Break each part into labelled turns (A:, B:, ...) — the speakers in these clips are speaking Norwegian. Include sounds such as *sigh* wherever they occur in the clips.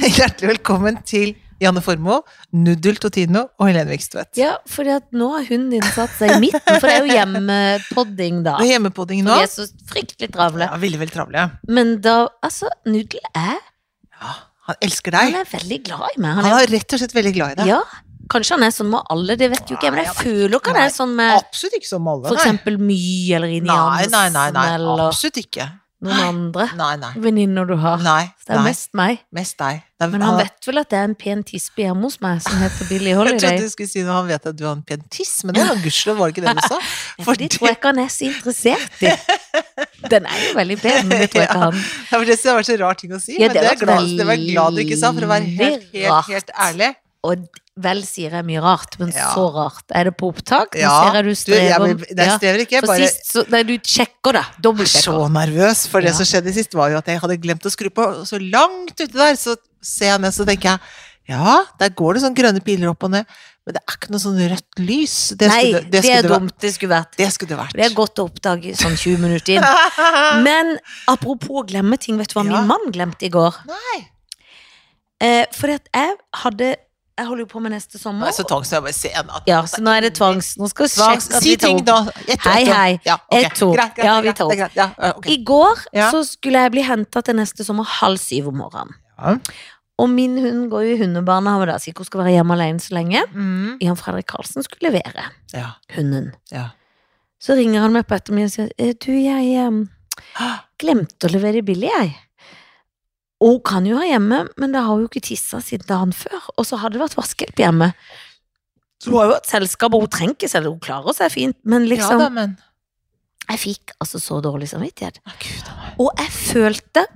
A: Hjertelig velkommen til Janne Formoe, Nudel Totino og Helene Vikstvedt.
B: Ja, for nå har hunden din satt seg i midten, for det er jo hjemmepodding da.
A: Det er hjemmepodding nå.
B: Vi er så fryktelig travle.
A: Ja, veldig, veldig travle.
B: Men da, altså, Nudel er
A: Ja, han elsker deg.
B: Han er veldig glad i meg.
A: Han
B: Han er,
A: er rett og slett veldig glad i deg.
B: ja, kanskje han er sånn med alle, det vet jo ikke jeg, men jeg føler ikke han
A: Nei.
B: er sånn med
A: Absolutt ikke som alle.
B: for
A: nei.
B: eksempel My eller Inni
A: Nei, nei, nei,
B: Hansen
A: nei.
B: eller
A: Absolutt ikke.
B: noen andre
A: Nei, nei.
B: venninner du har.
A: Nei,
B: Det er
A: nei.
B: mest meg.
A: Mest deg. Det er-
B: Ah, Men han vet vel at det er en pen tispe hjemme hos meg som heter Billie
A: Jeg trodde
B: Holiday.
A: du skulle si noe, han vet at du har en pen tiss, men det var gudskjelov, var det ikke det du sa?
B: *laughs* For det tror jeg ikke han er så interessert i. Den er jo veldig pen, men det tror jeg ikke han
A: *laughs* Ja, for det synes jeg var så rar ting å si,
B: Ja,
A: men
B: det
A: det er
B: var
A: glad, det var jeg glad du ikke sa, for å være helt,
B: veldig
A: helt, helt ærlig.
B: Og d- vel sier jeg mye rart, men
A: Ja.
B: så rart. Er det på opptak? Nå
A: Ja,
B: ser jeg du
A: Du, jeg,
B: strever.
A: blir- nei, jeg strever ikke, jeg
B: For
A: bare
B: sist, så, nei, du sjekker det. Dobbeltsjekker.
A: så nervøs, for det
B: Ja.
A: som skjedde sist, var jo at jeg hadde glemt å skru på, og så langt ute der, så ser jeg ned, så tenker jeg ja, der går det sånn grønne piler opp og ned, men det er ikke noe sånn rødt lys. Det
B: Nei,
A: skulle det,
B: det
A: skulle
B: er
A: det vært-
B: dumt. Det skulle vært.
A: Det skulle det vært.
B: Det er godt å oppdage sånn 20 minutter
A: *laughs*
B: inn. Men apropos å glemme ting, vet du hva
A: Ja.
B: min mann glemte i går?
A: Nei.
B: Eh, fordi at jeg hadde Jeg holder jo på med
A: Nå
B: neste
A: er
B: sommer.
A: jeg så tvang, så jeg bare ser en at
B: Ja, så nå er det tvangs. Nå skal vi
A: Tvang,
B: sjekke at
A: si
B: vi tar
A: ting,
B: opp.
A: da. Ett, to,
B: Hei,
A: ett, to.
B: hei.
A: Ja, ok.
B: Ett, to.
A: Greit, greit,
B: Ja, vi
A: greit,
B: tar
A: det er greit. Ja, ok.
B: I går
A: Ja.
B: så skulle jeg bli henta til neste sommer halv syv om morgenen.
A: Ja.
B: Og min hund går jo i hundebarnehage, da, så ikke hun skal være hjemme alene så lenge.
A: Mm.
B: Jan Fredrik Karlsen skulle levere
A: ja,
B: hunden. *gasps*
A: ja.
B: Så ringer han meg på ettermiddagen og sier «Eh, du, jeg em, glemte å levere Billy, jeg. Og hun kan jo ha hjemme, men da har hun jo ikke tissa siden dagen før. Og så hadde det vært vaskehjelp hjemme. Så hun har jo hatt selskap, og hun trenger ikke selv, hun klarer seg fint, men liksom
A: ja da, men
B: Jeg fikk altså så dårlig samvittighet.
A: Å, Gud, a meg.
B: Og jeg følte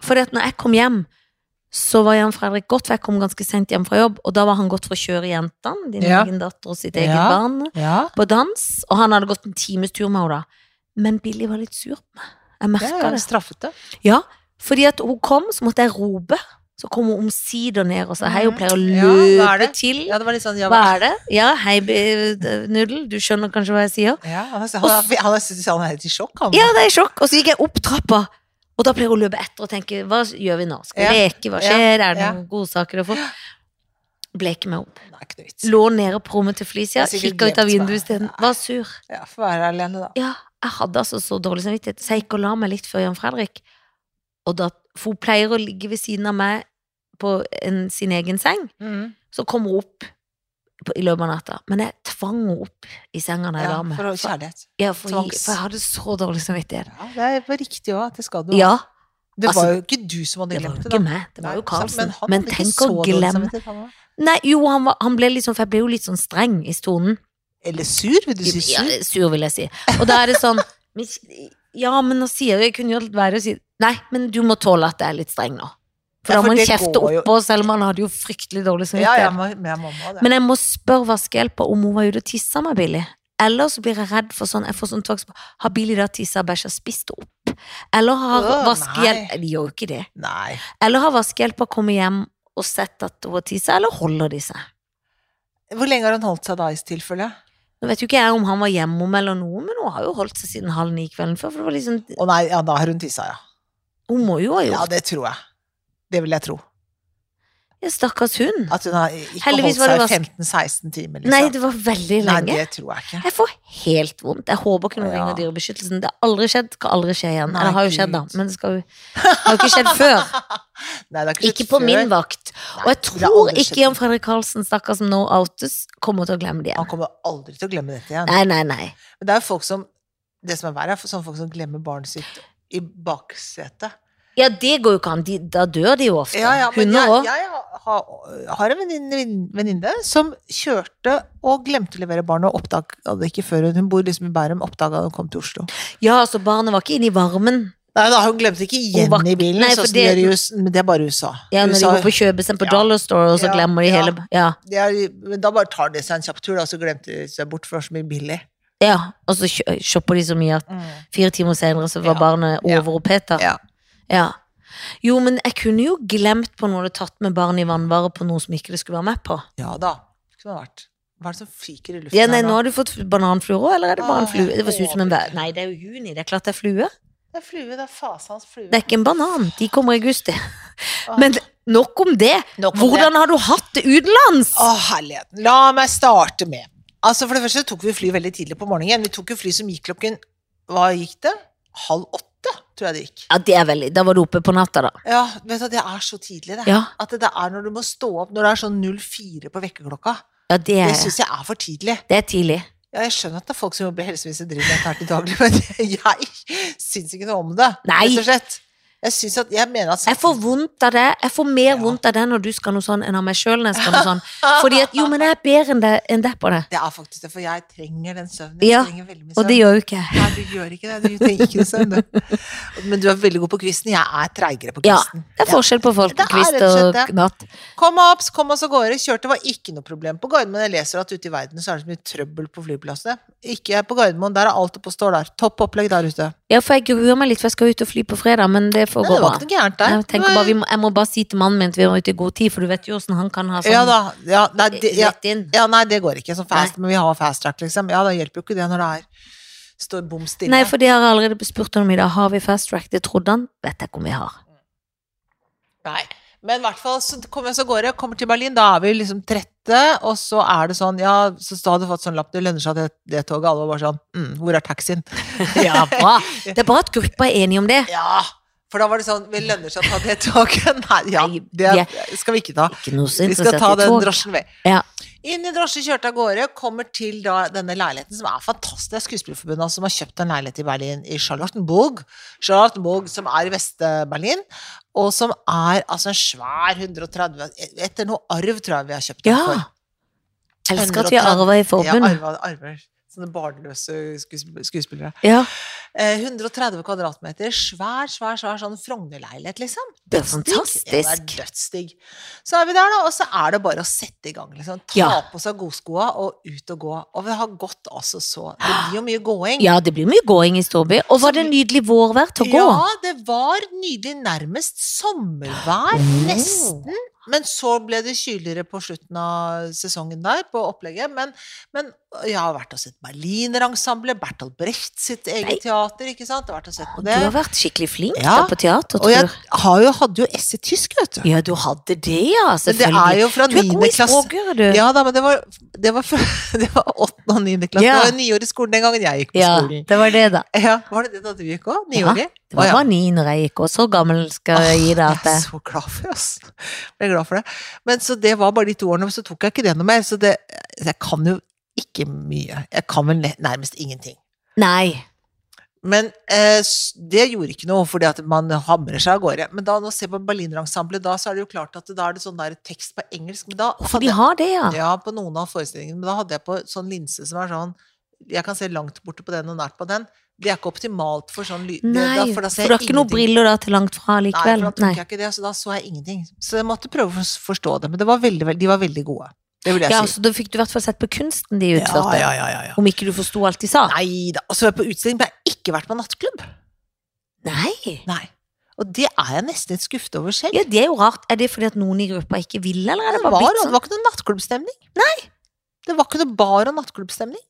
B: Fordi at når jeg kom hjem Så var Jan Fredrik godt For jeg kom ganske sent hjem fra jobb Og da var han godt for å kjøre jentene Din
A: Ja.
B: egen datter og sitt
A: Ja.
B: eget barn
A: Ja.
B: På dans Og han hadde gått en times tur med henne da Men Billy var litt sur på meg Jeg
A: Det
B: merket
A: er
B: det
A: straffete.
B: Ja, fordi at hun kom Så måtte jeg rope Så kom hun omsider ned og sa Hei, hun pleier å
A: Ja, hva er
B: løpe
A: det?
B: til
A: Ja, det var litt sånn ja,
B: Hva er det? Ja, hei, be- d- Nudel Du skjønner kanskje hva jeg sier
A: Ja, han, er- han, er- han, er- han er helt i sjokk, han.
B: Ja, det er sjokk. Og så gikk jeg opp trappa, og da pleier hun å løpe etter og tenke hva gjør vi nå? Skal vi
A: Ja.
B: leke? Hva
A: Ja.
B: skjer? Er det
A: Ja.
B: noen godsaker å få? Ble ikke med opp.
A: Nei, ikke noe vits.
B: Lå nede på rommet til Felicia,
A: Jeg har sikkert
B: kikka ut
A: glemt
B: av
A: meg.
B: vinduet isteden. Var sur.
A: Ja, Få være alene, da.
B: Ja, jeg hadde altså så dårlig samvittighet, så jeg gikk og la meg litt før Jan Fredrik. Og da, for hun pleier å ligge ved siden av meg på en, sin egen seng.
A: Mm.
B: Så kom hun opp på, i løpet av natta. Men jeg tvang henne opp i senga da jeg
A: Ja,
B: la meg.
A: for å- kjærlighet.
B: ja, for, å gi-
A: tvangs.
B: for jeg hadde så dårlig samvittighet.
A: Ja, det er på riktig òg, at det skal du. ha.
B: Ja,
A: det
B: altså,
A: var jo ikke du som hadde
B: Det var jo
A: glemt det, da.
B: ikke meg, det var jo
A: Nei,
B: Karlsen.
A: sant, han
B: Men
A: hadde ikke
B: tenk
A: så
B: å
A: dårlig
B: glemme
A: samvittighet, han også.
B: Nei, jo, han, var, han ble litt sånn, for jeg ble jo litt sånn streng i tonen.
A: Eller sur, vil du si
B: Ja,
A: sur?
B: sur, vil jeg si. Og da er det sånn *laughs* men s- Ja, men nå sier jeg Jeg kunne jo latt være å si Nei, men du må tåle at jeg er litt streng nå. For
A: Ja, for
B: da må han
A: det
B: kjefte
A: går jo-
B: oppå, selv om han hadde jo fryktelig dårlig
A: Ja, ja,
B: samvittighet.
A: med, med mamma, det.
B: Men jeg må spørre vaskehjelpa om hun var ute og tissa med Billy. Eller så blir jeg redd for sånn Jeg får sånn tvangspå Har Billy da tissa og bæsja spist det opp? Eller har
A: Åh,
B: vaskehjelp
A: nei.
B: De gjør jo ikke det.
A: Nei.
B: Eller har vaskehjelpa kommet hjem og sett at hun har tissa, eller holder de seg?
A: Hvor lenge har hun holdt seg da, i tilfelle?
B: Nå vet jo ikke jeg om han var hjemom eller noe, men hun har jo holdt seg siden halv ni kvelden før. For det var liksom,
A: Å nei, ja, da har hun tissa, ja.
B: hun må jo ha
A: Ja,
B: gjort
A: det tror jeg. Det vil jeg tro.
B: det. Stakkars hund.
A: At hun har ikke
B: Heldigvis var det
A: holdt
B: vask-
A: seg 15-16 timer, liksom.
B: Nei, det var veldig
A: Nei,
B: lenge.
A: det tror jeg ikke.
B: Jeg får helt vondt. Jeg håper ikke noen
A: Ja.
B: ringer Dyrebeskyttelsen. Det har aldri skjedd, skal aldri skje igjen.
A: Nei,
B: Eller har jo
A: Gud.
B: skjedd, da, men det skal
A: *laughs*
B: jo det har jo ikke skjedd før.
A: Nei, det har
B: Ikke
A: skjedd
B: på
A: før.
B: min vakt.
A: Nei, det
B: Og jeg
A: har
B: tror
A: aldri skjedd.
B: ikke Jan Fredrik Karlsen, stakkar som nå outes, kommer til å glemme det
A: Han
B: igjen.
A: kommer aldri til å glemme dette igjen.
B: Nei, nei, nei.
A: Men det er jo folk som Det som er verre, er sånne folk som glemmer barnet sitt i baksetet.
B: Ja, det går jo ikke an. De, da dør de jo ofte.
A: Ja, ja, men
B: Hunder
A: jeg,
B: òg.
A: jeg har, har en venninne- venninne som kjørte og glemte å levere barnet, og oppdaga det ikke før hun Hun bor liksom i Bærum, oppdaga det og kom til Oslo.
B: Ja, altså, barnet var ikke inne i varmen.
A: Nei, da, hun glemte ikke igjen
B: var-
A: i bilen,
B: Nei, for
A: sånn som de
B: det-
A: gjør i US, men det er bare USA.
B: Ja, når de
A: USA
B: går på kjøpesenter på
A: Ja.
B: Dollar Store, og så
A: Ja,
B: glemmer de
A: ja.
B: hele Ja,
A: det er, men da bare tar de seg en kjapp tur, da, så glemte de seg bort, for det var så mye billig.
B: ja. og så kjø- shopper de så mye at
A: Mm.
B: fire timer senere så var
A: Ja.
B: barnet
A: Ja.
B: overoppheta.
A: Ja.
B: Ja. Jo, men jeg kunne jo glemt på noe du hadde tatt med barnet i vannvare på noe som ikke det skulle være med på.
A: Ja da. Det kunne vært Hva er det som fyker i luften
B: Ja,
A: her
B: nei, nå har du fått bananfluer òg, eller er det bare en
A: Å,
B: flue?
A: jeg
B: Det var så ut som en
A: håper
B: bæ- Nei, det er jo juni, det er klart det er flue.
A: Det er flue, det er fasans flue.
B: Det er ikke en banan, de kommer i august, det.
A: Åh.
B: Men Nok om det.
A: Nok om det.
B: Hvordan har du hatt det utenlands?
A: Å, herligheten. La meg starte med. Altså, For det første tok vi fly veldig tidlig på morgenen. Vi tok jo fly som gikk klokken Hva gikk det? Halv åtte, tror jeg det gikk.
B: Ja, det er veldig Da var du oppe på natta, da.
A: Ja, vet du, Det er så tidlig, det.
B: Ja,
A: At det er når du må stå opp når det er sånn 04 på vekkerklokka.
B: ja det,
A: Det
B: er,
A: syns jeg er for tidlig.
B: det er tidlig.
A: Ja, jeg skjønner at det er folk som jobber i helsevesenet driver med dette her til daglig, men *laughs* jeg syns ikke noe om det.
B: Nei.
A: Rett og slett. Jeg syns at Jeg mener at
B: Jeg får vondt av det. Jeg får mer
A: Ja.
B: vondt av det når du skal noe sånn, enn av meg sjøl når jeg skal noe
A: *laughs*
B: sånn. Fordi at jo, men jeg er bedre enn deg, enn deg på det.
A: Det er faktisk det, for jeg trenger den søvnen.
B: Ja,
A: Jeg trenger veldig mye
B: Og det
A: søvn.
B: gjør jo ikke jeg.
A: Nei, du gjør ikke det. Du trenger ikke noe søvn. du. Men du er veldig god på kvisten. Jeg er treigere på
B: Ja.
A: kvisten.
B: Det er forskjell på folk
A: Det
B: på
A: er
B: kvist
A: rett og slett
B: og
A: det.
B: natt.
A: Kom oss, kom oss av gårde. Kjørte var ikke noe problem på Gardermoen. Jeg leser at ute i verden så er det så mye trøbbel på flyplassene. Ikke på Gardermoen, der er alt oppe og står der. Topp opplegg der ute.
B: Ja, for jeg gruer meg litt, for jeg skal ut og fly på fredag, men det får
A: Nei,
B: gå
A: det var
B: bra.
A: ikke noe gærent der.
B: Jeg, tenker bare, vi må, jeg må bare si til mannen min at vi var ute i god tid, for du vet jo åssen han kan ha sånn
A: Ja da. Ja, nei, det, ja,
B: rett inn.
A: ja, nei, det går ikke. Sånn fast, men vi har fast track, liksom. Ja, da hjelper jo ikke det når det er står bom stille.
B: Nei, for det har jeg allerede spurt om i dag. Har vi fast track? Det trodde han. Vet jeg ikke om
A: *laughs*
B: vi har.
A: Nei. Men i hvert fall så kommer jeg så går jeg, kommer til Berlin, da er vi liksom trette, og så er det sånn, ja, så da hadde du fått sånn lapp, det lønner seg at det, det toget, alle var bare sånn, mm, hvor er taxien?
B: Ja, bra. Det er bra at gruppa er enige om det.
A: Ja, for da var det sånn, vi lønner seg å ta det toget, *laughs* nei, ja,
B: Nei,
A: det skal vi ikke ta.
B: Ikke noe så
A: Vi skal ta
B: interessert i
A: den
B: tog.
A: drosjen vei.
B: Ja.
A: Inn i drosje, kjørte av gårde, kommer til da denne leiligheten som er fantastisk. Det er Skuespillerforbundet altså, som har kjøpt en leilighet i Berlin, i Charlottenburg. Charlottenburg, som er i Vest-Berlin, og som er altså en svær 130 Etter noe arv, tror jeg vi har kjøpt den
B: Ja.
A: for.
B: Elsker at vi arver i
A: Ja,
B: forbund.
A: arver, arver. Sånne barnløse skuesp- skuespillere.
B: Ja,
A: Eh, 130 kvadratmeter, svær, svær, svær sånn Frogner-leilighet, liksom.
B: Det er
A: Dødsdigg. Ja,
B: fantastisk.
A: det er dødsdigg. Så er vi der, da, og så er det bare å sette i gang, liksom. Ta
B: Ja.
A: på seg godskoa og ut og gå. Og vi har gått altså så Det blir jo mye gåing.
B: ja, det blir mye gåing i storby. Og var det nydelig vårvær til å gå?
A: Ja, det var nydelig. Nærmest sommervær.
B: Mm.
A: Nesten. Men så ble det kyligere på slutten av sesongen der, på opplegget. Men, men jeg har vært og sett Berlinerensemblet, Bertolt Brecht sitt eget
B: Nei.
A: teater, ikke sant? Jeg har vært og sett på
B: Du
A: det.
B: har vært skikkelig flink
A: Ja.
B: da på teater,
A: Og jeg
B: tror jeg.
A: har jo, hadde jo S i tysk, vet du.
B: Ja, du hadde det,
A: Men
B: ja.
A: det er
B: Selvfølgelig.
A: jo fra
B: Du er god
A: niende
B: i
A: klasse.
B: språket, du.
A: Ja da, men det var, det var, fra- *laughs* det var åttende og niende klasse.
B: Ja.
A: Det var ni år i skolen den gangen jeg gikk på
B: Ja,
A: skolen.
B: det var det, da.
A: Ja, Var det det da du gikk òg? Niårig?
B: Det var
A: Å, ja.
B: bare ni når jeg gikk, og så gammel skal jeg gi deg
A: Jeg
B: at
A: er
B: jeg
A: så glad for det, ass. Ble glad for det. Men så det var bare de to årene, men så tok jeg ikke det noe mer. Så det, jeg kan jo ikke mye. Jeg kan vel ne- nærmest ingenting.
B: Nei.
A: Men eh, s- det gjorde ikke noe, fordi at man hamrer seg av gårde. Men da, nå ser jeg på Berlinerensemblet, da så er det jo klart at da er det sånn der tekst på engelsk. Men da
B: For de har det, ja.
A: Ja, på noen av forestillingene. Men da hadde jeg på sånn linse som er sånn Jeg kan se langt borte på den og nært på den. Det er ikke optimalt for sånn lyd.
B: Nei,
A: da,
B: for,
A: da ser
B: du har
A: jeg
B: ikke noen
A: ingenting.
B: briller da til langt fra likevel.
A: Nei, for da
B: Nei.
A: tok jeg ikke det, så da så jeg ingenting. Så jeg måtte prøve å forstå det. Men det var veldig, veldig, de var veldig gode. Det vil jeg
B: Ja,
A: si.
B: så da fikk du i hvert fall sett på kunsten de utførte.
A: ja, ja, ja, ja.
B: Om ikke du forsto alt de sa.
A: Nei da. Og så var jeg på utstilling, men jeg har ikke vært på nattklubb.
B: Nei.
A: Nei. Og det er jeg nesten litt skuffet over selv.
B: Ja, det er jo rart. Er det fordi at noen i gruppa ikke ville, eller er
A: det,
B: det
A: var,
B: bare blitt
A: det
B: sånn?
A: var ikke noe nattklubbstemning. Nei. Det var ikke noe bar- og nattklubbstemning.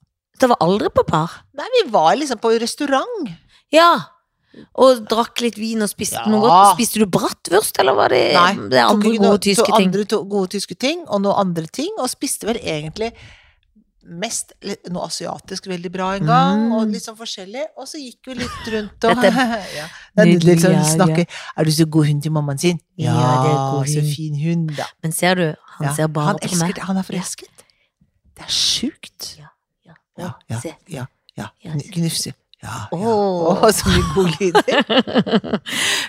B: Det var aldri på bar.
A: Nei, vi var liksom på restaurant.
B: Ja. Og drakk litt vin og spiste
A: Ja.
B: noe godt. Spiste du bratwurst, eller var det,
A: Nei,
B: det er
A: tok
B: andre
A: ikke noe-
B: gode
A: tok
B: tyske ting?
A: Andre to, gode tyske ting, og noen andre ting, og spiste vel egentlig mest eller noe asiatisk veldig bra en gang,
B: Mm.
A: og litt sånn forskjellig, og så gikk vi litt rundt og
B: *laughs* Dette
A: *laughs* ja. Det er litt
B: Nydelig,
A: sånn
B: ja,
A: snakker Er du så god hund til mammaen sin?
B: Ja, det er god
A: så
B: hund.
A: fin hund, da.
B: Men ser du, han
A: Ja,
B: ser bare
A: han
B: på
A: elsker
B: meg.
A: det. Han er forelsket. Det er sjukt.
B: Ja, ja.
A: Ja, ja,
B: Se.
A: ja. ja.
B: Ja,
A: Kn- Knufse. Ja, ja.
B: Åh.
A: Åh, så mye
B: *laughs*
A: gode lyder.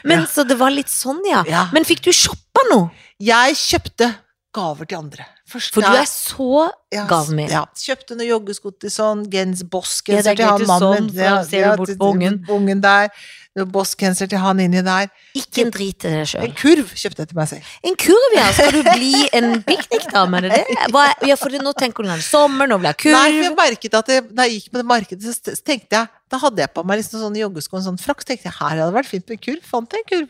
B: Men så det var litt sånn, ja.
A: Ja.
B: Men fikk du shoppa noe?
A: Jeg kjøpte gaver til andre. Første-
B: For du er så
A: Ja,
B: Gav
A: s-
B: meg.
A: Ja. Kjøpte noen joggesko til sånn, gens
B: Ja,
A: bossgenser
B: det er
A: til han
B: greit du
A: mannen.
B: sånn, for da ser du bort
A: til-
B: på ungen.
A: på ungen der. Noen Bossgenser til han inni der.
B: Ikke en drit i deg sjøl.
A: En kurv kjøpte jeg til meg selv.
B: En kurv, ja. Skal du bli en piknikdame, er det det? Hva, er- ja, for det, nå tenker du nå er det sommer, nå blir
A: Nei,
B: jeg
A: for
B: kurv.
A: jeg merket at jeg, da jeg gikk på det markedet, så st- så tenkte jeg Da hadde jeg på meg liksom sånne joggesko og en sånn frakk. tenkte jeg, her hadde det vært fint med en kurv. Fant jeg en kurv.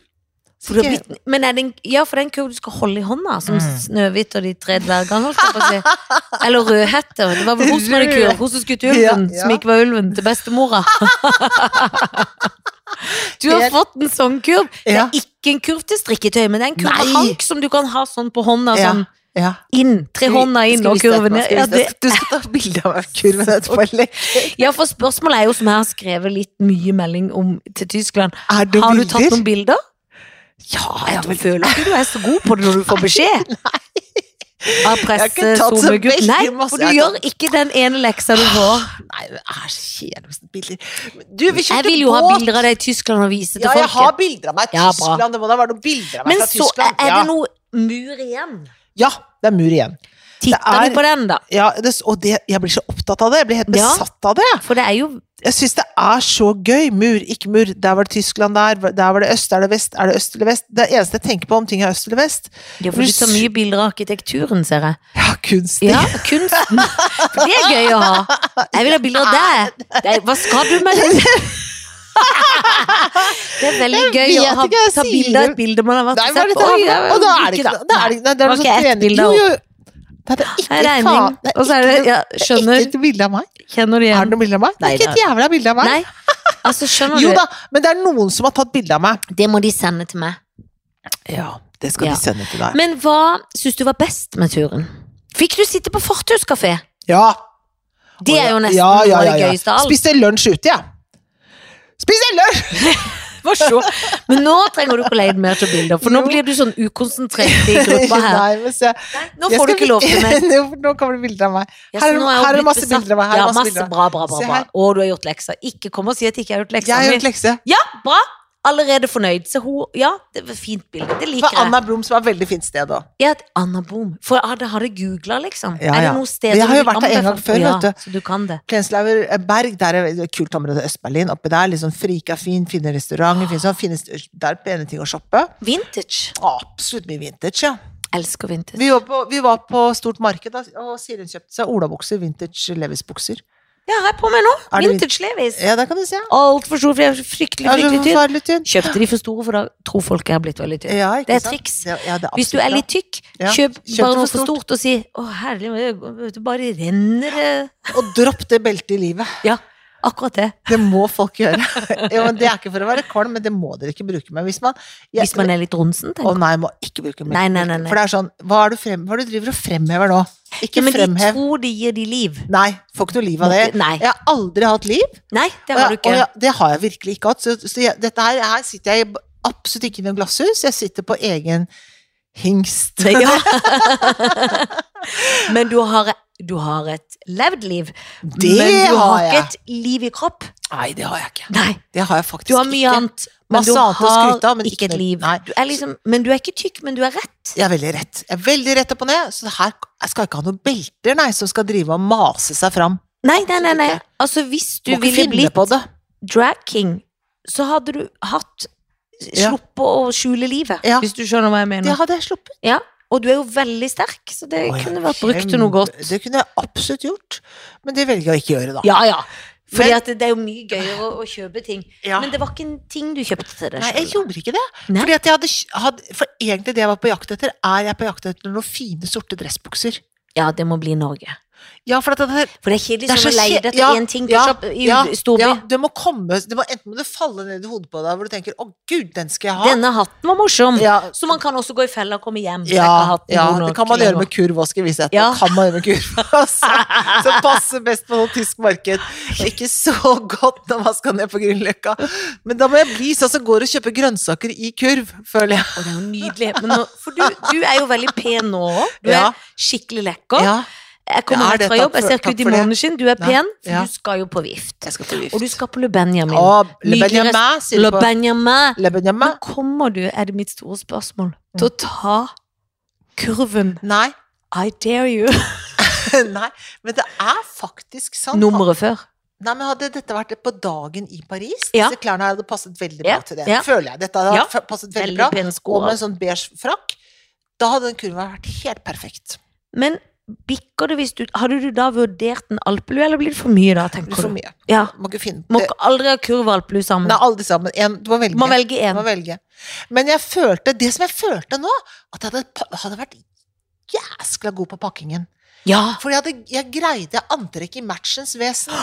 A: Så
B: For det
A: ikke-
B: blir, men er det en, ja, for det er en kurv du skal holde i hånda, som
A: Mm.
B: Snøhvit og de tre dvergene, holdt jeg på å si. Eller Rødhette. Det var vel hun som hadde kurv, hun som skutt ulven,
A: Ja, ja. *laughs*
B: som ikke var ulven, til bestemora. Du har
A: Helt-
B: fått en sånn kurv. Det
A: Ja.
B: er ikke en kurv til strikketøy, men det er en kurv med
A: Nei.
B: hank som du kan ha sånn på hånda.
A: Ja.
B: Sånn
A: Ja.
B: inn, tre hånda inn og kurven ned. Ja, det,
A: Du skal ta bilde
B: *laughs*
A: av kurven etterpå, eller?
B: ja, for spørsmålet er jo, som jeg har skrevet litt mye melding om til Tyskland,
A: Er det
B: har du
A: bilder?
B: tatt noen bilder?
A: Ja,
B: Jeg
A: jeg har vel
B: føler ikke du er så god på det når du får beskjed. Av presse,
A: Jeg har ikke tatt så
B: SoMe-gutt.
A: veldig
B: Nei,
A: masse.
B: for
A: Jeg
B: du
A: har Ah,
B: gjør ikke den ene leksa du får.
A: Nei, det er så kjedelig med sånne bilder. Men Du, vi kjørte
B: Jeg vil jo ha
A: båt.
B: bilder av deg i Tyskland og vise til
A: Ja, jeg har
B: folket.
A: bilder av meg i
B: Ja, bra.
A: Tyskland. Det må da være noen bilder av meg
B: Men
A: fra
B: så er
A: Tyskland.
B: er det
A: ja.
B: noe mur igjen.
A: ja, det er mur igjen.
B: Titter
A: Det er-
B: du på den, da?
A: Ja, det, og det, jeg blir så opptatt av det. Jeg blir helt
B: Ja.
A: besatt av det.
B: For det er jo
A: Jeg syns det er så gøy. Mur, ikke mur. Der var det Tyskland, der. Der var det øst, er det vest, er det øst eller vest? Det eneste jeg tenker på om ting er øst eller vest,
B: Det er fordi så mye bilder av arkitekturen, ser jeg.
A: ja, kunst.
B: Ja, kunsten. *laughs* For det er gøy å ha. Jeg vil ha bilder av deg. Nei, Hva skal du med det? Det er veldig gøy
A: Jeg
B: å
A: vet
B: ha,
A: ikke, jeg
B: ta
A: sier
B: bilde av
A: det.
B: et bilde man har vært
A: Nei, hva er dette
B: Oi,
A: her for
B: jeg
A: noe? Og da er det
B: liker
A: ikke da er det, nei, det
B: Det
A: er
B: var
A: noe
B: ikke
A: sånn
B: ett
A: trening.
B: bilde
A: Jo,
B: av-
A: jo. Nei, det er
B: Nei,
A: ikke
B: regning.
A: faen. Det er
B: Og så er
A: ikke
B: det
A: noe-
B: Ja,
A: det er
B: skjønner.
A: Ikke et bilde av meg.
B: Kjenner du
A: Er det
B: igjen?
A: noe bilde av meg? Det
B: Nei,
A: er ikke et
B: det
A: jævla bilde av meg.
B: Nei. Altså, skjønner
A: Jo
B: du?
A: da, men det er noen som har tatt bilde av meg.
B: Det må de sende til meg.
A: Ja, det skal
B: Ja.
A: vi sende til deg.
B: Men hva syns du var best med turen? Fikk du sitte på fortauskafé?
A: Ja.
B: Det er jo nesten
A: Ja, ja, ja,
B: noe av det
A: ja.
B: gøyeste av alt.
A: Spiste lunsj ute, jeg. Spiste lunsj!
B: For så. *laughs* Men nå trenger du ikke å leie mer til bilder, for nå
A: Jo.
B: blir du sånn ukonsentrert i gruppa
A: *laughs*
B: her.
A: Nei, men se.
B: Nå
A: Jeg
B: får du
A: skal-
B: ikke lov
A: *laughs*
B: til mer.
A: Jo, for Nå kommer det bilder av meg.
B: Ja,
A: Her er-
B: så nå
A: her er
B: jeg jo
A: det
B: blitt
A: masse
B: besatt.
A: bilder av meg, her er
B: Ja,
A: masse
B: masse
A: bilder av meg.
B: bra, bra, bra,
A: Se
B: bra.
A: her.
B: Å, du har gjort leksa. Ikke kom og si at jeg ikke har gjort
A: Jeg
B: leksa
A: har gjort
B: mi.
A: lekse.
B: Ja, bra. Allerede fornøyd. Se, hun, ja, det var fint bilde. Det
A: For
B: liker jeg.
A: Anna Blom, som var et veldig fint sted òg.
B: Ja, et Anna Bohm. For jeg hadde, hadde googla, liksom.
A: Ja,
B: Er det
A: ja.
B: noen steder
A: Jeg har
B: du
A: jo vært der en
B: anbefaler-
A: gang før,
B: ja,
A: vet
B: Så du kan det.
A: Klenslauer eh, Berg, der er et kult område i Øst-Berlin. Oppi der, liksom frika fin, fine restauranter, fine sånn, fine, st- der er pene ting å shoppe.
B: Vintage.
A: Absolutt mye vintage, ja.
B: Elsker vintage.
A: Vi var på, vi var på stort marked, da, og Siren kjøpte seg olabukser, vintage Levis-bukser.
B: Det har jeg på meg nå.
A: Er det vin-
B: Vintage Levis.
A: Ja, det kan du se.
B: Altfor stor, for jeg er så fryktelig,
A: Ja, så
B: fryktelig tynn.
A: forferdelig tynn.
B: Kjøpte de for store, for da tror folk jeg har blitt veldig tynn.
A: Ja, ikke
B: Det er
A: sant?
B: triks.
A: Ja, ja, det er
B: Hvis du
A: absolutt
B: er
A: bra.
B: litt tykk,
A: Ja, kjøp
B: kjøp bare
A: det
B: noe
A: for
B: for stort og si 'Å, herlig, men det bare renner det'.
A: Og dropp det beltet i livet.
B: Ja, akkurat det.
A: Det må folk gjøre. *laughs* jo, men det er ikke for å være kvalm, men det må dere ikke bruke med. Hvis man, jeg,
B: Hvis man er litt ronsen,
A: Å
B: tenker jeg.
A: nei, må ikke bruke melk.
B: Nei, nei, nei, nei.
A: For det er sånn, hva er du, frem, hva er det du driver og fremhever nå? Ikke
B: Ja, men de
A: fremhev.
B: tror de gir de liv.
A: Nei, får ikke noe liv av det.
B: Må ikke- nei.
A: Jeg har aldri hatt liv.
B: Nei, det
A: og jeg,
B: har du ikke.
A: og
B: *laughs*
A: jeg, det har jeg virkelig ikke hatt. Så, så jeg, dette her, her sitter jeg absolutt ikke i noe glasshus. Jeg sitter på egen hingst.
B: Det-
A: *laughs*
B: Ja. Men du har, du har et levd liv.
A: Det
B: men du
A: har
B: har
A: jeg.
B: ikke et liv i kropp.
A: Nei, det har jeg ikke.
B: Nei,
A: Det har jeg faktisk
B: du har mye
A: ikke.
B: annet. Men
A: Masse
B: du
A: annet å
B: har
A: skryte av, men
B: ikke
A: ikke
B: et
A: noe-
B: liv.
A: nei.
B: Du er liksom, men du er ikke tykk, men du er rett.
A: Jeg er veldig rett. Jeg er veldig rett opp og ned, så det her jeg skal ikke ha noen belter, nei, som skal drive og mase seg fram.
B: Nei, nei, nei. nei.
A: Absolutt
B: Altså, hvis du
A: Må ikke
B: ville
A: finne
B: blitt
A: på det.
B: drag king, så hadde du hatt
A: Ja.
B: Sluppet å skjule livet,
A: Ja.
B: hvis du skjønner hva jeg
A: Det
B: mener.
A: hadde jeg sluppet.
B: Ja. Og du er jo veldig sterk, så det
A: Å, ja,
B: kunne vært brukt til noe godt.
A: kjempe- Det kunne jeg absolutt gjort, men det velger jeg å ikke gjøre, da.
B: Ja, ja. Fordi
A: Men-
B: at det det er jo mye gøyere å, å kjøpe ting.
A: Ja.
B: Men det var ikke en ting du kjøpte til deg
A: Nei, jeg
B: selv.
A: gjorde ikke det.
B: Nei.
A: Fordi at jeg hadde, hadde, for egentlig det jeg var på jakt etter, er jeg på jakt etter noen fine, sorte dressbukser.
B: Ja, det må bli Norge.
A: Ja, for at det, her-
B: For det er kjedelig
A: Det er
B: sånn å
A: så
B: leie
A: kje-
B: etter
A: ja,
B: én ting på
A: ja,
B: shop i
A: ja,
B: storby.
A: ja, det må komme det må, Enten må det falle ned i hodet på deg, hvor du tenker 'Å, gud, den skal jeg ha'.
B: Denne hatten var morsom.
A: ja,
B: Så man kan også gå i fella og komme hjem. så jeg ikke har
A: ja,
B: hatt den
A: ja,
B: god
A: det
B: nok
A: kan man gjøre
B: lenger.
A: med kurv også, skal vi se.
B: Ja.
A: Det kan man gjøre med kurv også.
B: *laughs*
A: Som passer best på noe tysk marked. Og ikke så godt når man skal ned på Grünerløkka. Men da må jeg bli sånn som går og kjøper grønnsaker i kurv, føler jeg.
B: Å, det er jo nydelig. Men nå, for du, du er jo veldig pen nå òg. Du
A: Ja.
B: er skikkelig lekker.
A: Ja,
B: Jeg
A: Ja,
B: kommer
A: er
B: rett
A: det
B: fra
A: takk
B: jobb, jeg
A: for-
B: ser ikke ut
A: takk
B: i
A: for det.
B: måneden. Du er
A: Nei,
B: pen, for
A: ja.
B: du skal jo på vift.
A: jeg skal på
B: Og
A: vift.
B: du skal på Le Benjamin.
A: Å, Le
B: Nydelig
A: Benjamin,
B: rest-
A: sier du
B: Le
A: på.
B: Benjamin.
A: Le Benjamin?
B: Men kommer du, er det mitt store spørsmål,
A: Mm.
B: til å ta kurven
A: Nei. *laughs*
B: I dare you
A: Nei. Men det er faktisk sant.
B: nummeret før?
A: Nei, men Hadde dette vært på dagen i Paris,
B: Ja.
A: disse klærne her hadde passet veldig
B: Ja,
A: bra til det.
B: ja.
A: Føler jeg. Dette hadde
B: Ja,
A: fa- passet veldig,
B: Veldig
A: bra.
B: pene sko.
A: Og med en
B: altså.
A: sånn beige frakk, da hadde den kurven vært helt perfekt.
B: Men bikker det hvis du Hadde du da vurdert en alpelue, eller blir det for mye da,
A: Det blir
B: tenker
A: For
B: du?
A: mye.
B: Ja.
A: Må ikke finne
B: Må
A: det.
B: ikke aldri ha kurv og alpelue sammen.
A: Nei, alle sammen. En, du må velge.
B: Må velge
A: Du
B: én.
A: må velge. Men jeg følte, det som jeg følte nå, at jeg hadde, pa- hadde vært jæskla god på pakkingen.
B: Ja,
A: For jeg, hadde, jeg greide antrekket i matchens vesen.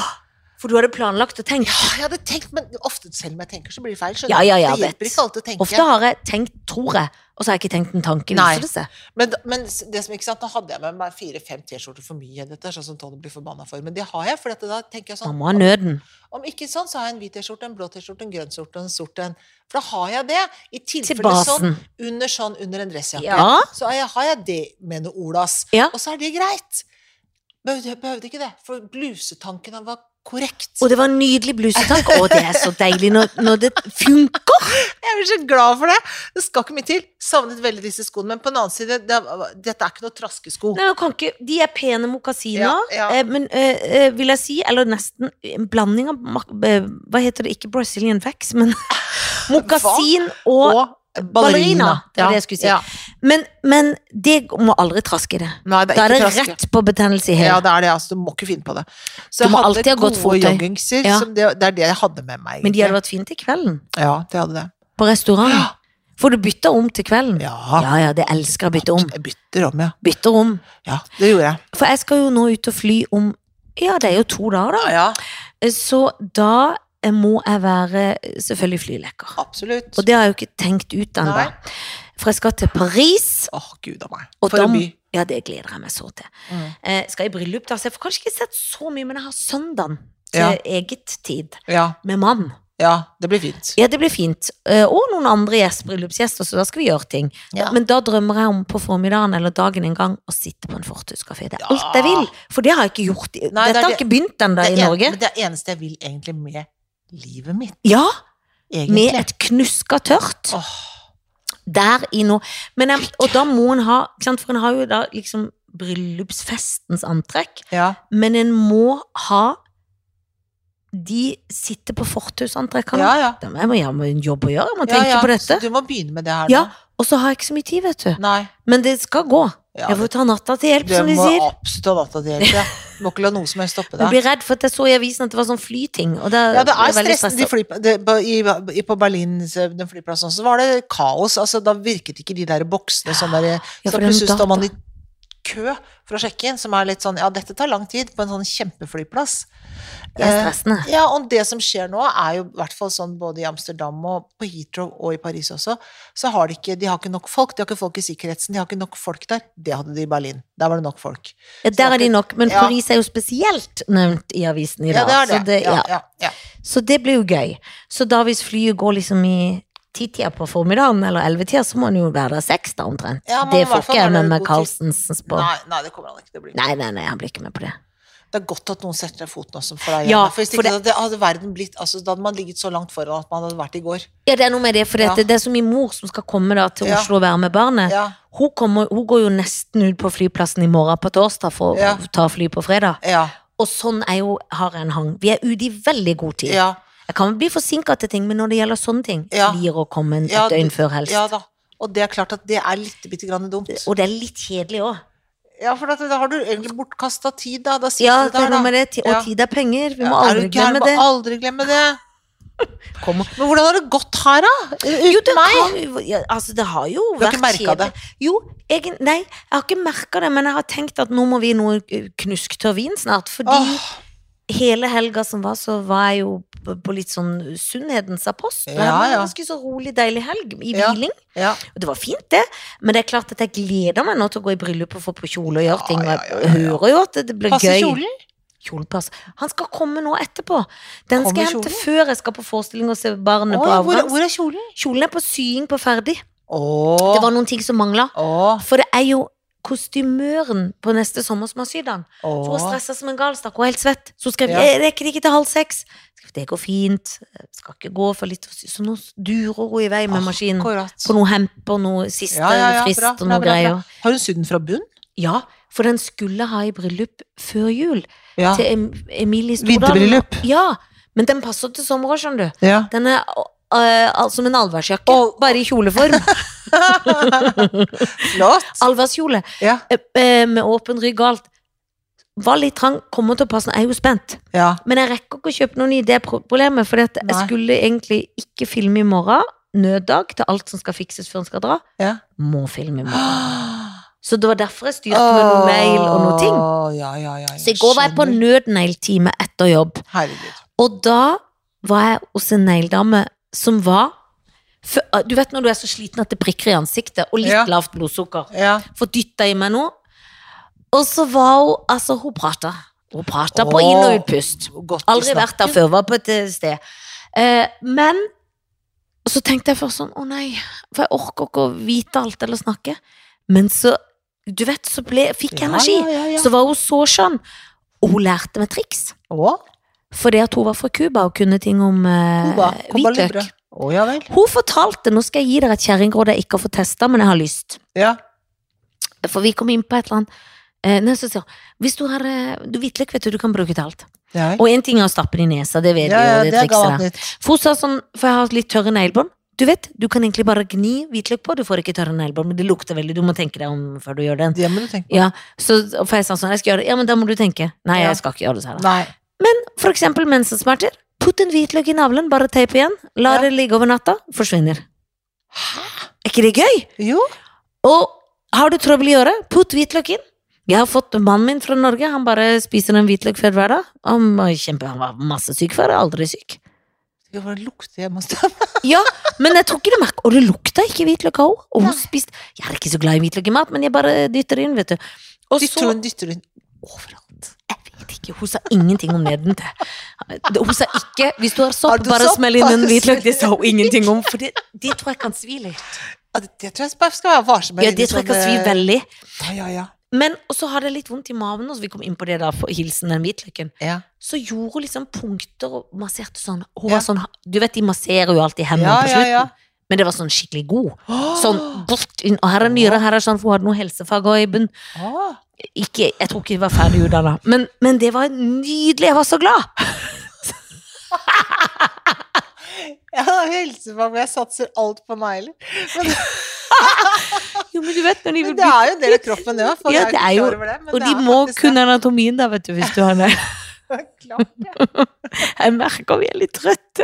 B: For du hadde planlagt og tenkt.
A: Ja, Ah, jeg hadde tenkt, men ofte selv om jeg tenker, så blir det feil. skjønner
B: Ja, ja, ja,
A: du? Det
B: jeg
A: hjelper
B: vet.
A: ikke alltid å tenke.
B: Ofte har jeg tenkt, tror jeg, og så har jeg ikke tenkt en tanke.
A: Nei.
B: Viser det seg.
A: Men, men det som ikke sant, da hadde jeg med meg fire-fem T-skjorter for mye. Dette er sånn som Tony blir forbanna for. Men det har jeg, for at da tenker jeg
B: Man
A: sånn
B: må ha nøden.
A: Om ikke sånn, så har jeg en hvit T-skjorte, en blå T-skjorte, en grønn skjorte og en sort en. For da har jeg det. I
B: Til
A: tilfelle sånn
B: basen.
A: under sånn under en dressjakke.
B: Ja.
A: Så har jeg, har jeg det med noe olas.
B: Ja.
A: Og så er det greit. Behøvde, behøvde ikke det. For blusetanken han var korrekt.
B: Og det var en nydelig blusetank. Å, det er så deilig når, når det funker!
A: Jeg blir så glad for det! Det skal ikke mye til. Savnet veldig disse skoene. Men på den annen side, det, er- dette er ikke noe traskesko.
B: Nei, jeg kan ikke, de er pene mokasiner,
A: Ja, ja.
B: eh, men eh, eh, vil jeg si, eller nesten en blanding av mak- eh, Hva heter det? Ikke Brazilian Vax, *laughs* men mokasin og
A: Og
B: ballerina, det var det jeg skulle si.
A: Ja.
B: men, men det må aldri traske i det.
A: Nei, det er
B: Da er det
A: ikke traske.
B: rett på betennelse i
A: Ja,
B: hælen.
A: det er det. Altså, du må ikke finne på det. Så
B: Du
A: jeg
B: må
A: hadde
B: alltid ha godt
A: gode
B: fottøy.
A: joggingser.
B: Ja.
A: Som det, det er det jeg hadde med meg.
B: men de hadde
A: egentlig.
B: vært fine til kvelden,
A: Ja, det hadde det.
B: på
A: Ja.
B: restaurant. For du bytter om til kvelden.
A: Ja.
B: ja, det elsker jeg å bytte om.
A: Jeg bytter om, ja.
B: Bytter om.
A: Ja, det gjorde jeg.
B: For jeg skal jo nå ut og fly om Ja, det er jo to dager, da.
A: ja.
B: Så da eh, må jeg være eh, selvfølgelig flylekker.
A: Absolutt.
B: Og det har jeg jo ikke tenkt ut ennå.
A: Nei.
B: For jeg skal til Paris,
A: Åh, gud a meg.
B: og
A: For
B: da-
A: en by.
B: ja, det gleder jeg meg så til.
A: Mm.
B: Eh, skal i bryllup, da, så jeg får kanskje ikke sett så mye, men jeg har søndagen til
A: Ja.
B: eget tid
A: Ja,
B: med mann.
A: ja, det blir fint.
B: Ja, det blir fint. Eh, og noen andre gjest, bryllupsgjester, så da skal vi gjøre ting.
A: Ja.
B: Men da drømmer jeg om på formiddagen eller dagen en gang å sitte på en fortauskafé. Det er
A: Ja.
B: alt jeg vil, for det har jeg ikke gjort.
A: Nei,
B: i-
A: det er
B: Dette har
A: det-
B: ikke begynt ennå i
A: en-
B: Norge.
A: men det er eneste jeg vil egentlig med livet mitt,
B: Ja,
A: egentlig.
B: med et knuska tørt.
A: Åh,
B: der i nå. Men jeg, og da må en ha ikke sant? For en har jo da liksom bryllupsfestens antrekk,
A: ja.
B: men en må ha De sitter på fortausantrekkene.
A: ja, ja.
B: Da må Jeg må jeg må ha en jobb å gjøre, jeg må
A: Ja,
B: tenke
A: ja.
B: på dette.
A: Så du må begynne med det her
B: Ja,
A: nå.
B: Og så har jeg ikke så mye tid, vet du.
A: Nei.
B: Men det skal gå.
A: Ja,
B: Jeg får ta natta til hjelp,
A: du
B: som de
A: må
B: sier.
A: absolutt ha data til hjelp. Ja. Du må ikke la noe som helst stoppe
B: Jeg
A: deg.
B: blir redd for at jeg så i avisen at det var sånn flyting. Og da
A: Ja, det
B: ble
A: er
B: jeg veldig
A: stressen. De
B: stresset.
A: fly, det, på, i, i- på Berlin, så- den flyplassen også, var det kaos. Altså, da virket ikke de der boksene sånn der
B: Ja,
A: Så
B: for den
A: plutselig står man i
B: data.
A: kø for å sjekke inn, som er litt sånn Ja, dette tar lang tid på en sånn kjempeflyplass. Eh,
B: Det er stressende.
A: Ja, og det som skjer nå, er jo i hvert fall sånn både i Amsterdam og på Heathrow og i Paris også, så har de ikke, de har ikke nok folk. De har ikke folk i sikkerhetsen, de har ikke nok folk der. Det hadde de i Berlin. Der var det nok folk.
B: Ja, der er de nok, men
A: Ja.
B: Paris er jo spesielt nevnt i avisen i
A: Ja,
B: dag.
A: det er det.
B: Så det, ja.
A: ja, ja, ja.
B: Så det blir jo gøy. Så da hvis flyet går liksom i titida på formiddagen, eller ellevetida, så må en jo være der seks, da omtrent.
A: Ja, man må i
B: det
A: hvert
B: får
A: fall
B: ikke
A: være
B: jeg med
A: der
B: meg
A: god tid.
B: Carlsensens på.
A: Nei, nei, det kommer han ikke til å bli.
B: Nei, nei, nei, han blir ikke med på det.
A: Det er godt at noen setter ned foten også for deg.
B: Ja,
A: Janne, for hvis
B: for
A: ikke det... Det hadde verden blitt altså, Da hadde man ligget så langt foran at man hadde vært i går.
B: Ja, det er noe med det, for
A: Ja.
B: det, det er så mye mor som skal komme da til
A: Ja.
B: Oslo og være med barnet.
A: Ja,
B: Hun, kommer, hun går jo nesten ut på flyplassen i morgen på torsdag for å
A: Ja.
B: ta fly på fredag.
A: ja,
B: Og sånn er jo, har jeg en hang. Vi er ute i veldig god tid.
A: ja,
B: Jeg kan bli forsinka til ting, men når det gjelder sånne ting,
A: Ja.
B: blir å komme en- et
A: Ja,
B: døgn før helst.
A: ja da. Og det er klart at det er litt bitte grann dumt.
B: Og det er litt kjedelig òg.
A: Ja, for at, da har du egentlig bortkasta tid, da. Da sitter
B: Ja,
A: du
B: det er
A: der, da.
B: noe med det. Ti- Og
A: Ja.
B: tid er penger. Vi må
A: Ja, er du
B: aldri
A: gæren?
B: glemme
A: Må
B: det.
A: Aldri glemme det.
B: Kom.
A: Men hvordan har det gått her, da? Uten
B: Jo, det
A: meg?
B: kan jo ja, Altså, det har jo
A: Du har ikke
B: vært
A: merket det?
B: Jo, egen, nei, jeg har ikke merka det, men jeg har tenkt at nå må vi i noe eh, knusktørr vin snart. Fordi
A: Åh,
B: hele helga som var, så var jeg jo på- på litt sånn sunnhetens apostel.
A: Ja,
B: Det var
A: ja.
B: en ganske så rolig, deilig helg i
A: Ja.
B: hviling.
A: ja.
B: Og det var fint, det. Men det er klart at jeg gleder meg nå til å gå i bryllup og få på kjole og gjøre
A: Ja,
B: ting. Og
A: ja,
B: jeg
A: ja, ja, ja.
B: hører jo at det, det blir
A: Passer
B: gøy.
A: kjolen?
B: Kjolen passer. Han skal komme nå etterpå. Den skal
A: Kommer
B: jeg hente
A: kjolen?
B: før jeg skal på forestilling og se barnet
A: Oi,
B: på
A: hvor,
B: avgang.
A: hvor er kjolen?
B: Kjolen er på sying på ferdig.
A: Åh,
B: Det var noen ting som mangla.
A: åh,
B: For det er jo kostymøren på neste sommer som har sydd den.
A: åh.
B: For hun stressa som en galstakk og er helt svett. Så hun skrev
A: Ja.
B: jeg rekker det ikke til halv seks. Jeg skrev, Det går fint. Jeg Skal ikke gå for litt Så nå durer hun i vei med maskinen.
A: Akkurat.
B: På noe hemp og noe siste
A: Ja, ja, ja,
B: frist
A: bra,
B: og
A: bra, bra,
B: noe
A: bra.
B: greier.
A: Har hun sydd den fra bunn?
B: Ja, for den skulle ha i bryllup før jul.
A: Ja.
B: til em Emilie Stordalen.
A: Vinterbryllup.
B: Ja, men den passer til sommer også, skjønner du.
A: Ja.
B: Den er øh, øh, som en allværsjakke,
A: Og-
B: bare i kjoleform.
A: *laughs* Flott.
B: Allværskjole,
A: Ja.
B: øh, øh, med åpen rygg og alt. Var litt trang, kommer til å passe, jeg er jo spent.
A: ja.
B: Men jeg rekker ikke å kjøpe noen ny, det er pro- problemet, for jeg
A: Nei.
B: skulle egentlig ikke filme i morgen, nøddag til alt som skal fikses før en skal dra.
A: Ja.
B: Må filme i morgen.
A: Åh,
B: Så det var derfor jeg styrte med noe mail og noe ting.
A: Åh, Ja, ja, ja, ja.
B: Så i går var jeg på
A: Skjønner.
B: nødnegltime etter jobb.
A: Herregud.
B: Og da var jeg hos en negledame som var fø- ah, Du vet når du er så sliten at det prikker i ansiktet, og litt
A: Ja.
B: lavt blodsukker.
A: Ja.
B: Får dytta i meg noe. Og så var hun Altså, hun prata. Hun prata på inn- og
A: Åh.
B: utpust.
A: Godt i
B: Aldri vært der
A: snakken.
B: før, var på et eh, sted. Eh, men så tenkte jeg først sånn, å nei, for jeg orker ikke å vite alt eller snakke. Men så, du vet, så ble, fikk jeg energi.
A: Ja, ja, ja, ja.
B: Så var hun så skjønn. Og hun lærte meg triks.
A: Åh,
B: Fordi at hun var fra Cuba og kunne ting om eh,
A: Cuba, Cuba
B: hvitløk.
A: Libre. Å, ja vel.
B: Hun fortalte, nå skal jeg gi dere et kjerringråd jeg ikke har fått testa, men jeg har lyst.
A: Ja.
B: For vi kom inn på et eller annet. Eh, nei, så sier hun, hvis du har eh, du, hvitløk, vet du, du kan bruke til alt.
A: Ja, vel.
B: Og én ting er å stappe det i nesa, det vet
A: ja, ja,
B: du jo,
A: det
B: det
A: er
B: trikset der.
A: gammelt nytt.
B: For hun sa sånn, for jeg har litt tørre neglebånd. Du vet, du kan egentlig bare gni hvitløk på, du får ikke tørre neglebånd, men det lukter veldig, du må tenke deg om før du gjør den.
A: Det må du tenke på.
B: Ja, så, for jeg sa sånn, jeg skal gjøre det, ja, men da må du tenke. Nei,
A: Ja.
B: jeg skal ikke gjøre det, sa jeg da.
A: Nei.
B: Men for eksempel mensensmerter, putt en hvitløk i navlen, bare teip igjen,
A: Ja.
B: la det ligge over natta, forsvinner. Er ikke det gøy?
A: Jo.
B: Og har du trøbbel i øret, putt hvitløk inn. Jeg har fått mannen min fra Norge, han bare spiser en hvitløk før hver dag. Han var kjempe, han var masse syk før, aldri syk.
A: Jo, Det lukter hjemme hos deg.
B: Ja, men jeg tror ikke det merker Og det lukta ikke hvitløk av henne. Og hun
A: Nei.
B: spiste Jeg er ikke så glad i hvitløk i mat, men jeg bare dytter det inn, vet du. Og
A: Dytter
B: så
A: hun, dytter hun.
B: Overalt. Jeg vet ikke. Hun sa ingenting om neden til. Hun sa ikke 'hvis du har sopp,
A: Har du
B: bare
A: sopp,
B: smell inn en
A: bare
B: hvitløk'. Det sa hun ingenting om, for det, det tror jeg kan svi litt.
A: Ja, det, det tror jeg bare skal være varsom med.
B: Ja, det tror jeg kan svi
A: Sånn, eh,
B: veldig.
A: Ja, ja, ja.
B: Men og så hadde jeg litt vondt i maven, og så vi kom inn på det da, for hilsen den hvitløken.
A: Ja,
B: Så gjorde hun liksom punkter og masserte sånn. Hun
A: Ja.
B: var sånn Du vet, de masserer jo alltid hendene
A: ja,
B: på
A: ja.
B: slutten.
A: ja.
B: Men det var sånn skikkelig god. Sånn,
A: Åh,
B: bort inn, og her er nyre, her er sånn, for hun hadde noe helsefag også i bunn.
A: åh.
B: Ikke, jeg tror ikke hun var ferdig utdanna, men, men det var nydelig, jeg var så glad!
A: Ja, helsefag, jeg satser alt på negler.
B: Jo, men du vet når de
A: Men det
B: vil bli
A: er jo en del av kroppen, ja. For
B: Ja,
A: jeg
B: det er
A: ikke
B: jo-
A: klar over det, men
B: Og
A: det
B: de
A: er
B: må
A: faktisk *laughs* det.
B: kunne anatomien da, vet du, hvis du har det.
A: Klart.
B: Jeg merker vi er litt trøtte.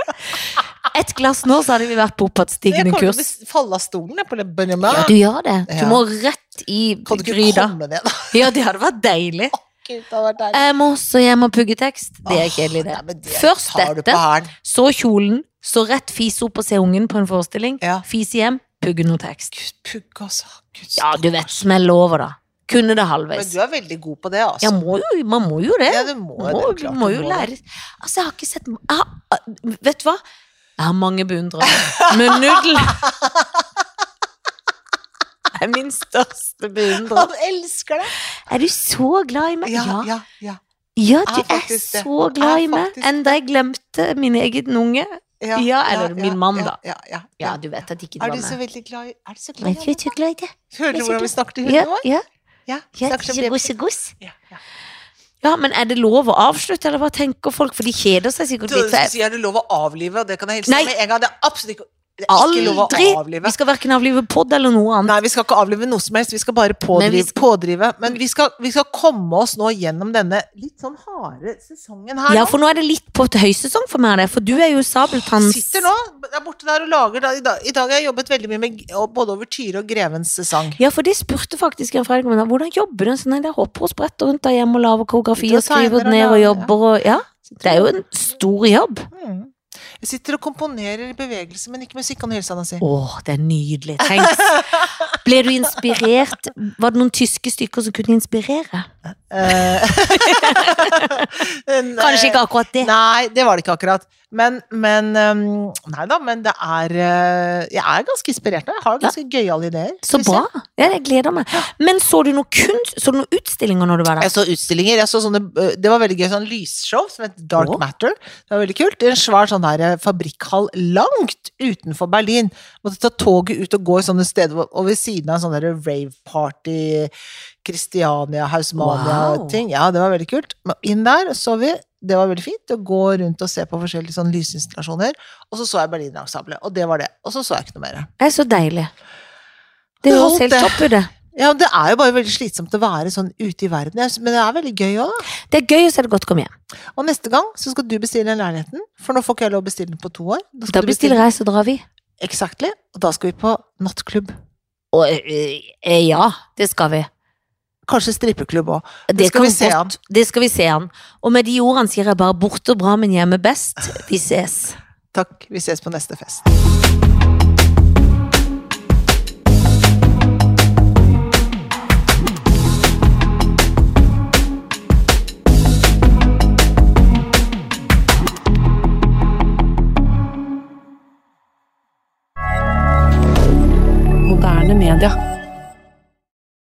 B: Et glass nå, så hadde vi vært på
A: Jeg
B: oppadstigende
A: kommer til å
B: kurs.
A: bes- falle av stolen jeg, på det Benjamin.
B: Ja, du gjør det. Du
A: Ja.
B: må rett i
A: Kan du ikke
B: gryta.
A: komme ned?
B: Ja, det hadde vært deilig.
A: Gud, det hadde vært deilig.
B: Jeg må også hjem og pugge tekst. Eh, Det er
A: Åh,
B: kjedelig, det.
A: nei, men
B: Først
A: tar du
B: dette.
A: på hælen.
B: Så kjolen, så rett fise opp og se ungen på en forestilling.
A: Ja.
B: Fise hjem, pugge noe tekst.
A: Gud, Pugg, altså. Gud,
B: Ja, du vet,
A: stakkars.
B: smell over, da. Kunne det
A: Men
B: halvveis.
A: du er veldig god på det, altså.
B: Ja, må jo, man må jo det.
A: Ja, du må,
B: Må,
A: det er klart
B: du må
A: du
B: jo
A: det.
B: lære Altså, jeg har ikke sett jeg har, ah, Vet du hva? Jeg har mange beundrere, men Nudel
A: *laughs*
B: er min største beundrer.
A: Han elsker det!
B: Er du så glad i meg?
A: Ja,
B: Ja,
A: ja, ja.
B: ja
A: Jeg
B: du
A: er
B: er
A: faktisk det.
B: så
A: Jeg
B: glad i
A: er
B: meg.
A: faktisk
B: Enda jeg glemte min egen unge.
A: Ja,
B: Ja, eller min mann, da.
A: Ja, ja, ja.
B: Ja, du vet at ikke det
A: Er
B: var
A: du så
B: meg.
A: veldig glad i Er du så
B: Jeg
A: glad
B: er
A: i
B: ikke så glad i det.
A: Hører du hvordan vi snakket i
B: Ja,
A: hunden vår?
B: ja.
A: Ja.
B: ja
A: snakker som
B: så
A: det-
B: goss, så goss.
A: Ja, ja.
B: Ja, men er det lov å avslutte, eller hva tenker folk? For de kjeder seg sikkert
A: Du
B: litt. for jeg-
A: sier er det lov å avlive, og det kan jeg hilse
B: Nei.
A: med en gang. Det er absolutt ikke, det er ikke lov å
B: Aldri! Vi
A: avlive.
B: skal verken avlive pod eller noe annet.
A: Nei, vi skal ikke avlive noe som helst, vi skal bare pådrive.
B: Men vi
A: Men vi,
B: skal-
A: pådrive. Men vi, skal, vi skal komme oss nå gjennom denne litt sånn harde sesongen her.
B: Ja,
A: nå.
B: for nå er det litt på et høysesong for meg, det. For du er jo sabeltanns
A: Sitter nå der borte der og lager da, i, dag, I dag har jeg jobbet veldig mye med og både over Tyre og Grevens sesong.
B: Ja, for de spurte faktisk en fredag men da, hvordan jobber du? sånn Så nei, jeg hopper og spretter rundt der hjemme og lager koreografi
A: Sitter og
B: og skriver
A: tegner og
B: ned og
A: lager,
B: jobber og Ja. Det er jo en stor jobb.
A: Mm. Jeg sitter og komponerer bevegelse, men ikke musikk, kan du hilse han og si.
B: Å, det er
A: *laughs*
B: nydelig. Tenk. Ble du inspirert? Var det noen tyske stykker som kunne inspirere?
A: Eh, *laughs*
B: *laughs* Kanskje ikke akkurat det.
A: Nei, det var det ikke akkurat. Men, men um, Nei da, men det er eh, Jeg er ganske inspirert nå. Jeg har ganske gøyale ideer.
B: Så
A: synes
B: bra.
A: jeg.
B: Ja, jeg gleder meg. Men så du noe kunst? Så du noen utstillinger når du var der?
A: Jeg så utstillinger. jeg så sånne, eh, Det var veldig gøy. Sånn lysshow som het Dark
B: Å.
A: Matter. Det var veldig kult. I En svær sånn her eh, fabrikkhall langt utenfor Berlin. Måtte ta toget ut og gå i sånne steder hvor- og ved siden av en sånn der rave party, Christiania, Hausmania
B: Wow.
A: og ting. Ja, det var veldig kult. Men inn der så vi. Det var veldig fint å gå rundt og se på forskjellige sånne lysinstallasjoner. Og så så jeg Berlinerensemblet, og det var det. Og så så jeg ikke noe mer.
B: Det er så deilig. Det
A: Det
B: høres
A: holdt
B: helt
A: det.
B: topp ut, det.
A: Ja, men Det er jo bare veldig slitsomt å være sånn ute i verden, jeg- men det er veldig gøy òg, da.
B: Det er gøy å se det godt komme hjem.
A: Og neste gang så skal du bestille den leiligheten, for nå får ikke jeg lov å bestille den på to år.
B: Da bestiller jeg, så drar vi.
A: Exactly. Og da skal vi på nattklubb.
B: Og eh, eh, ja, det skal vi.
A: Kanskje strippeklubb òg. skal
B: Det, kan
A: vi se
B: godt- Det skal vi se han. Og med de ordene sier jeg bare borte og bra, men hjemme best. Vi ses.
A: Takk, vi ses på neste fest.
C: Moderne media.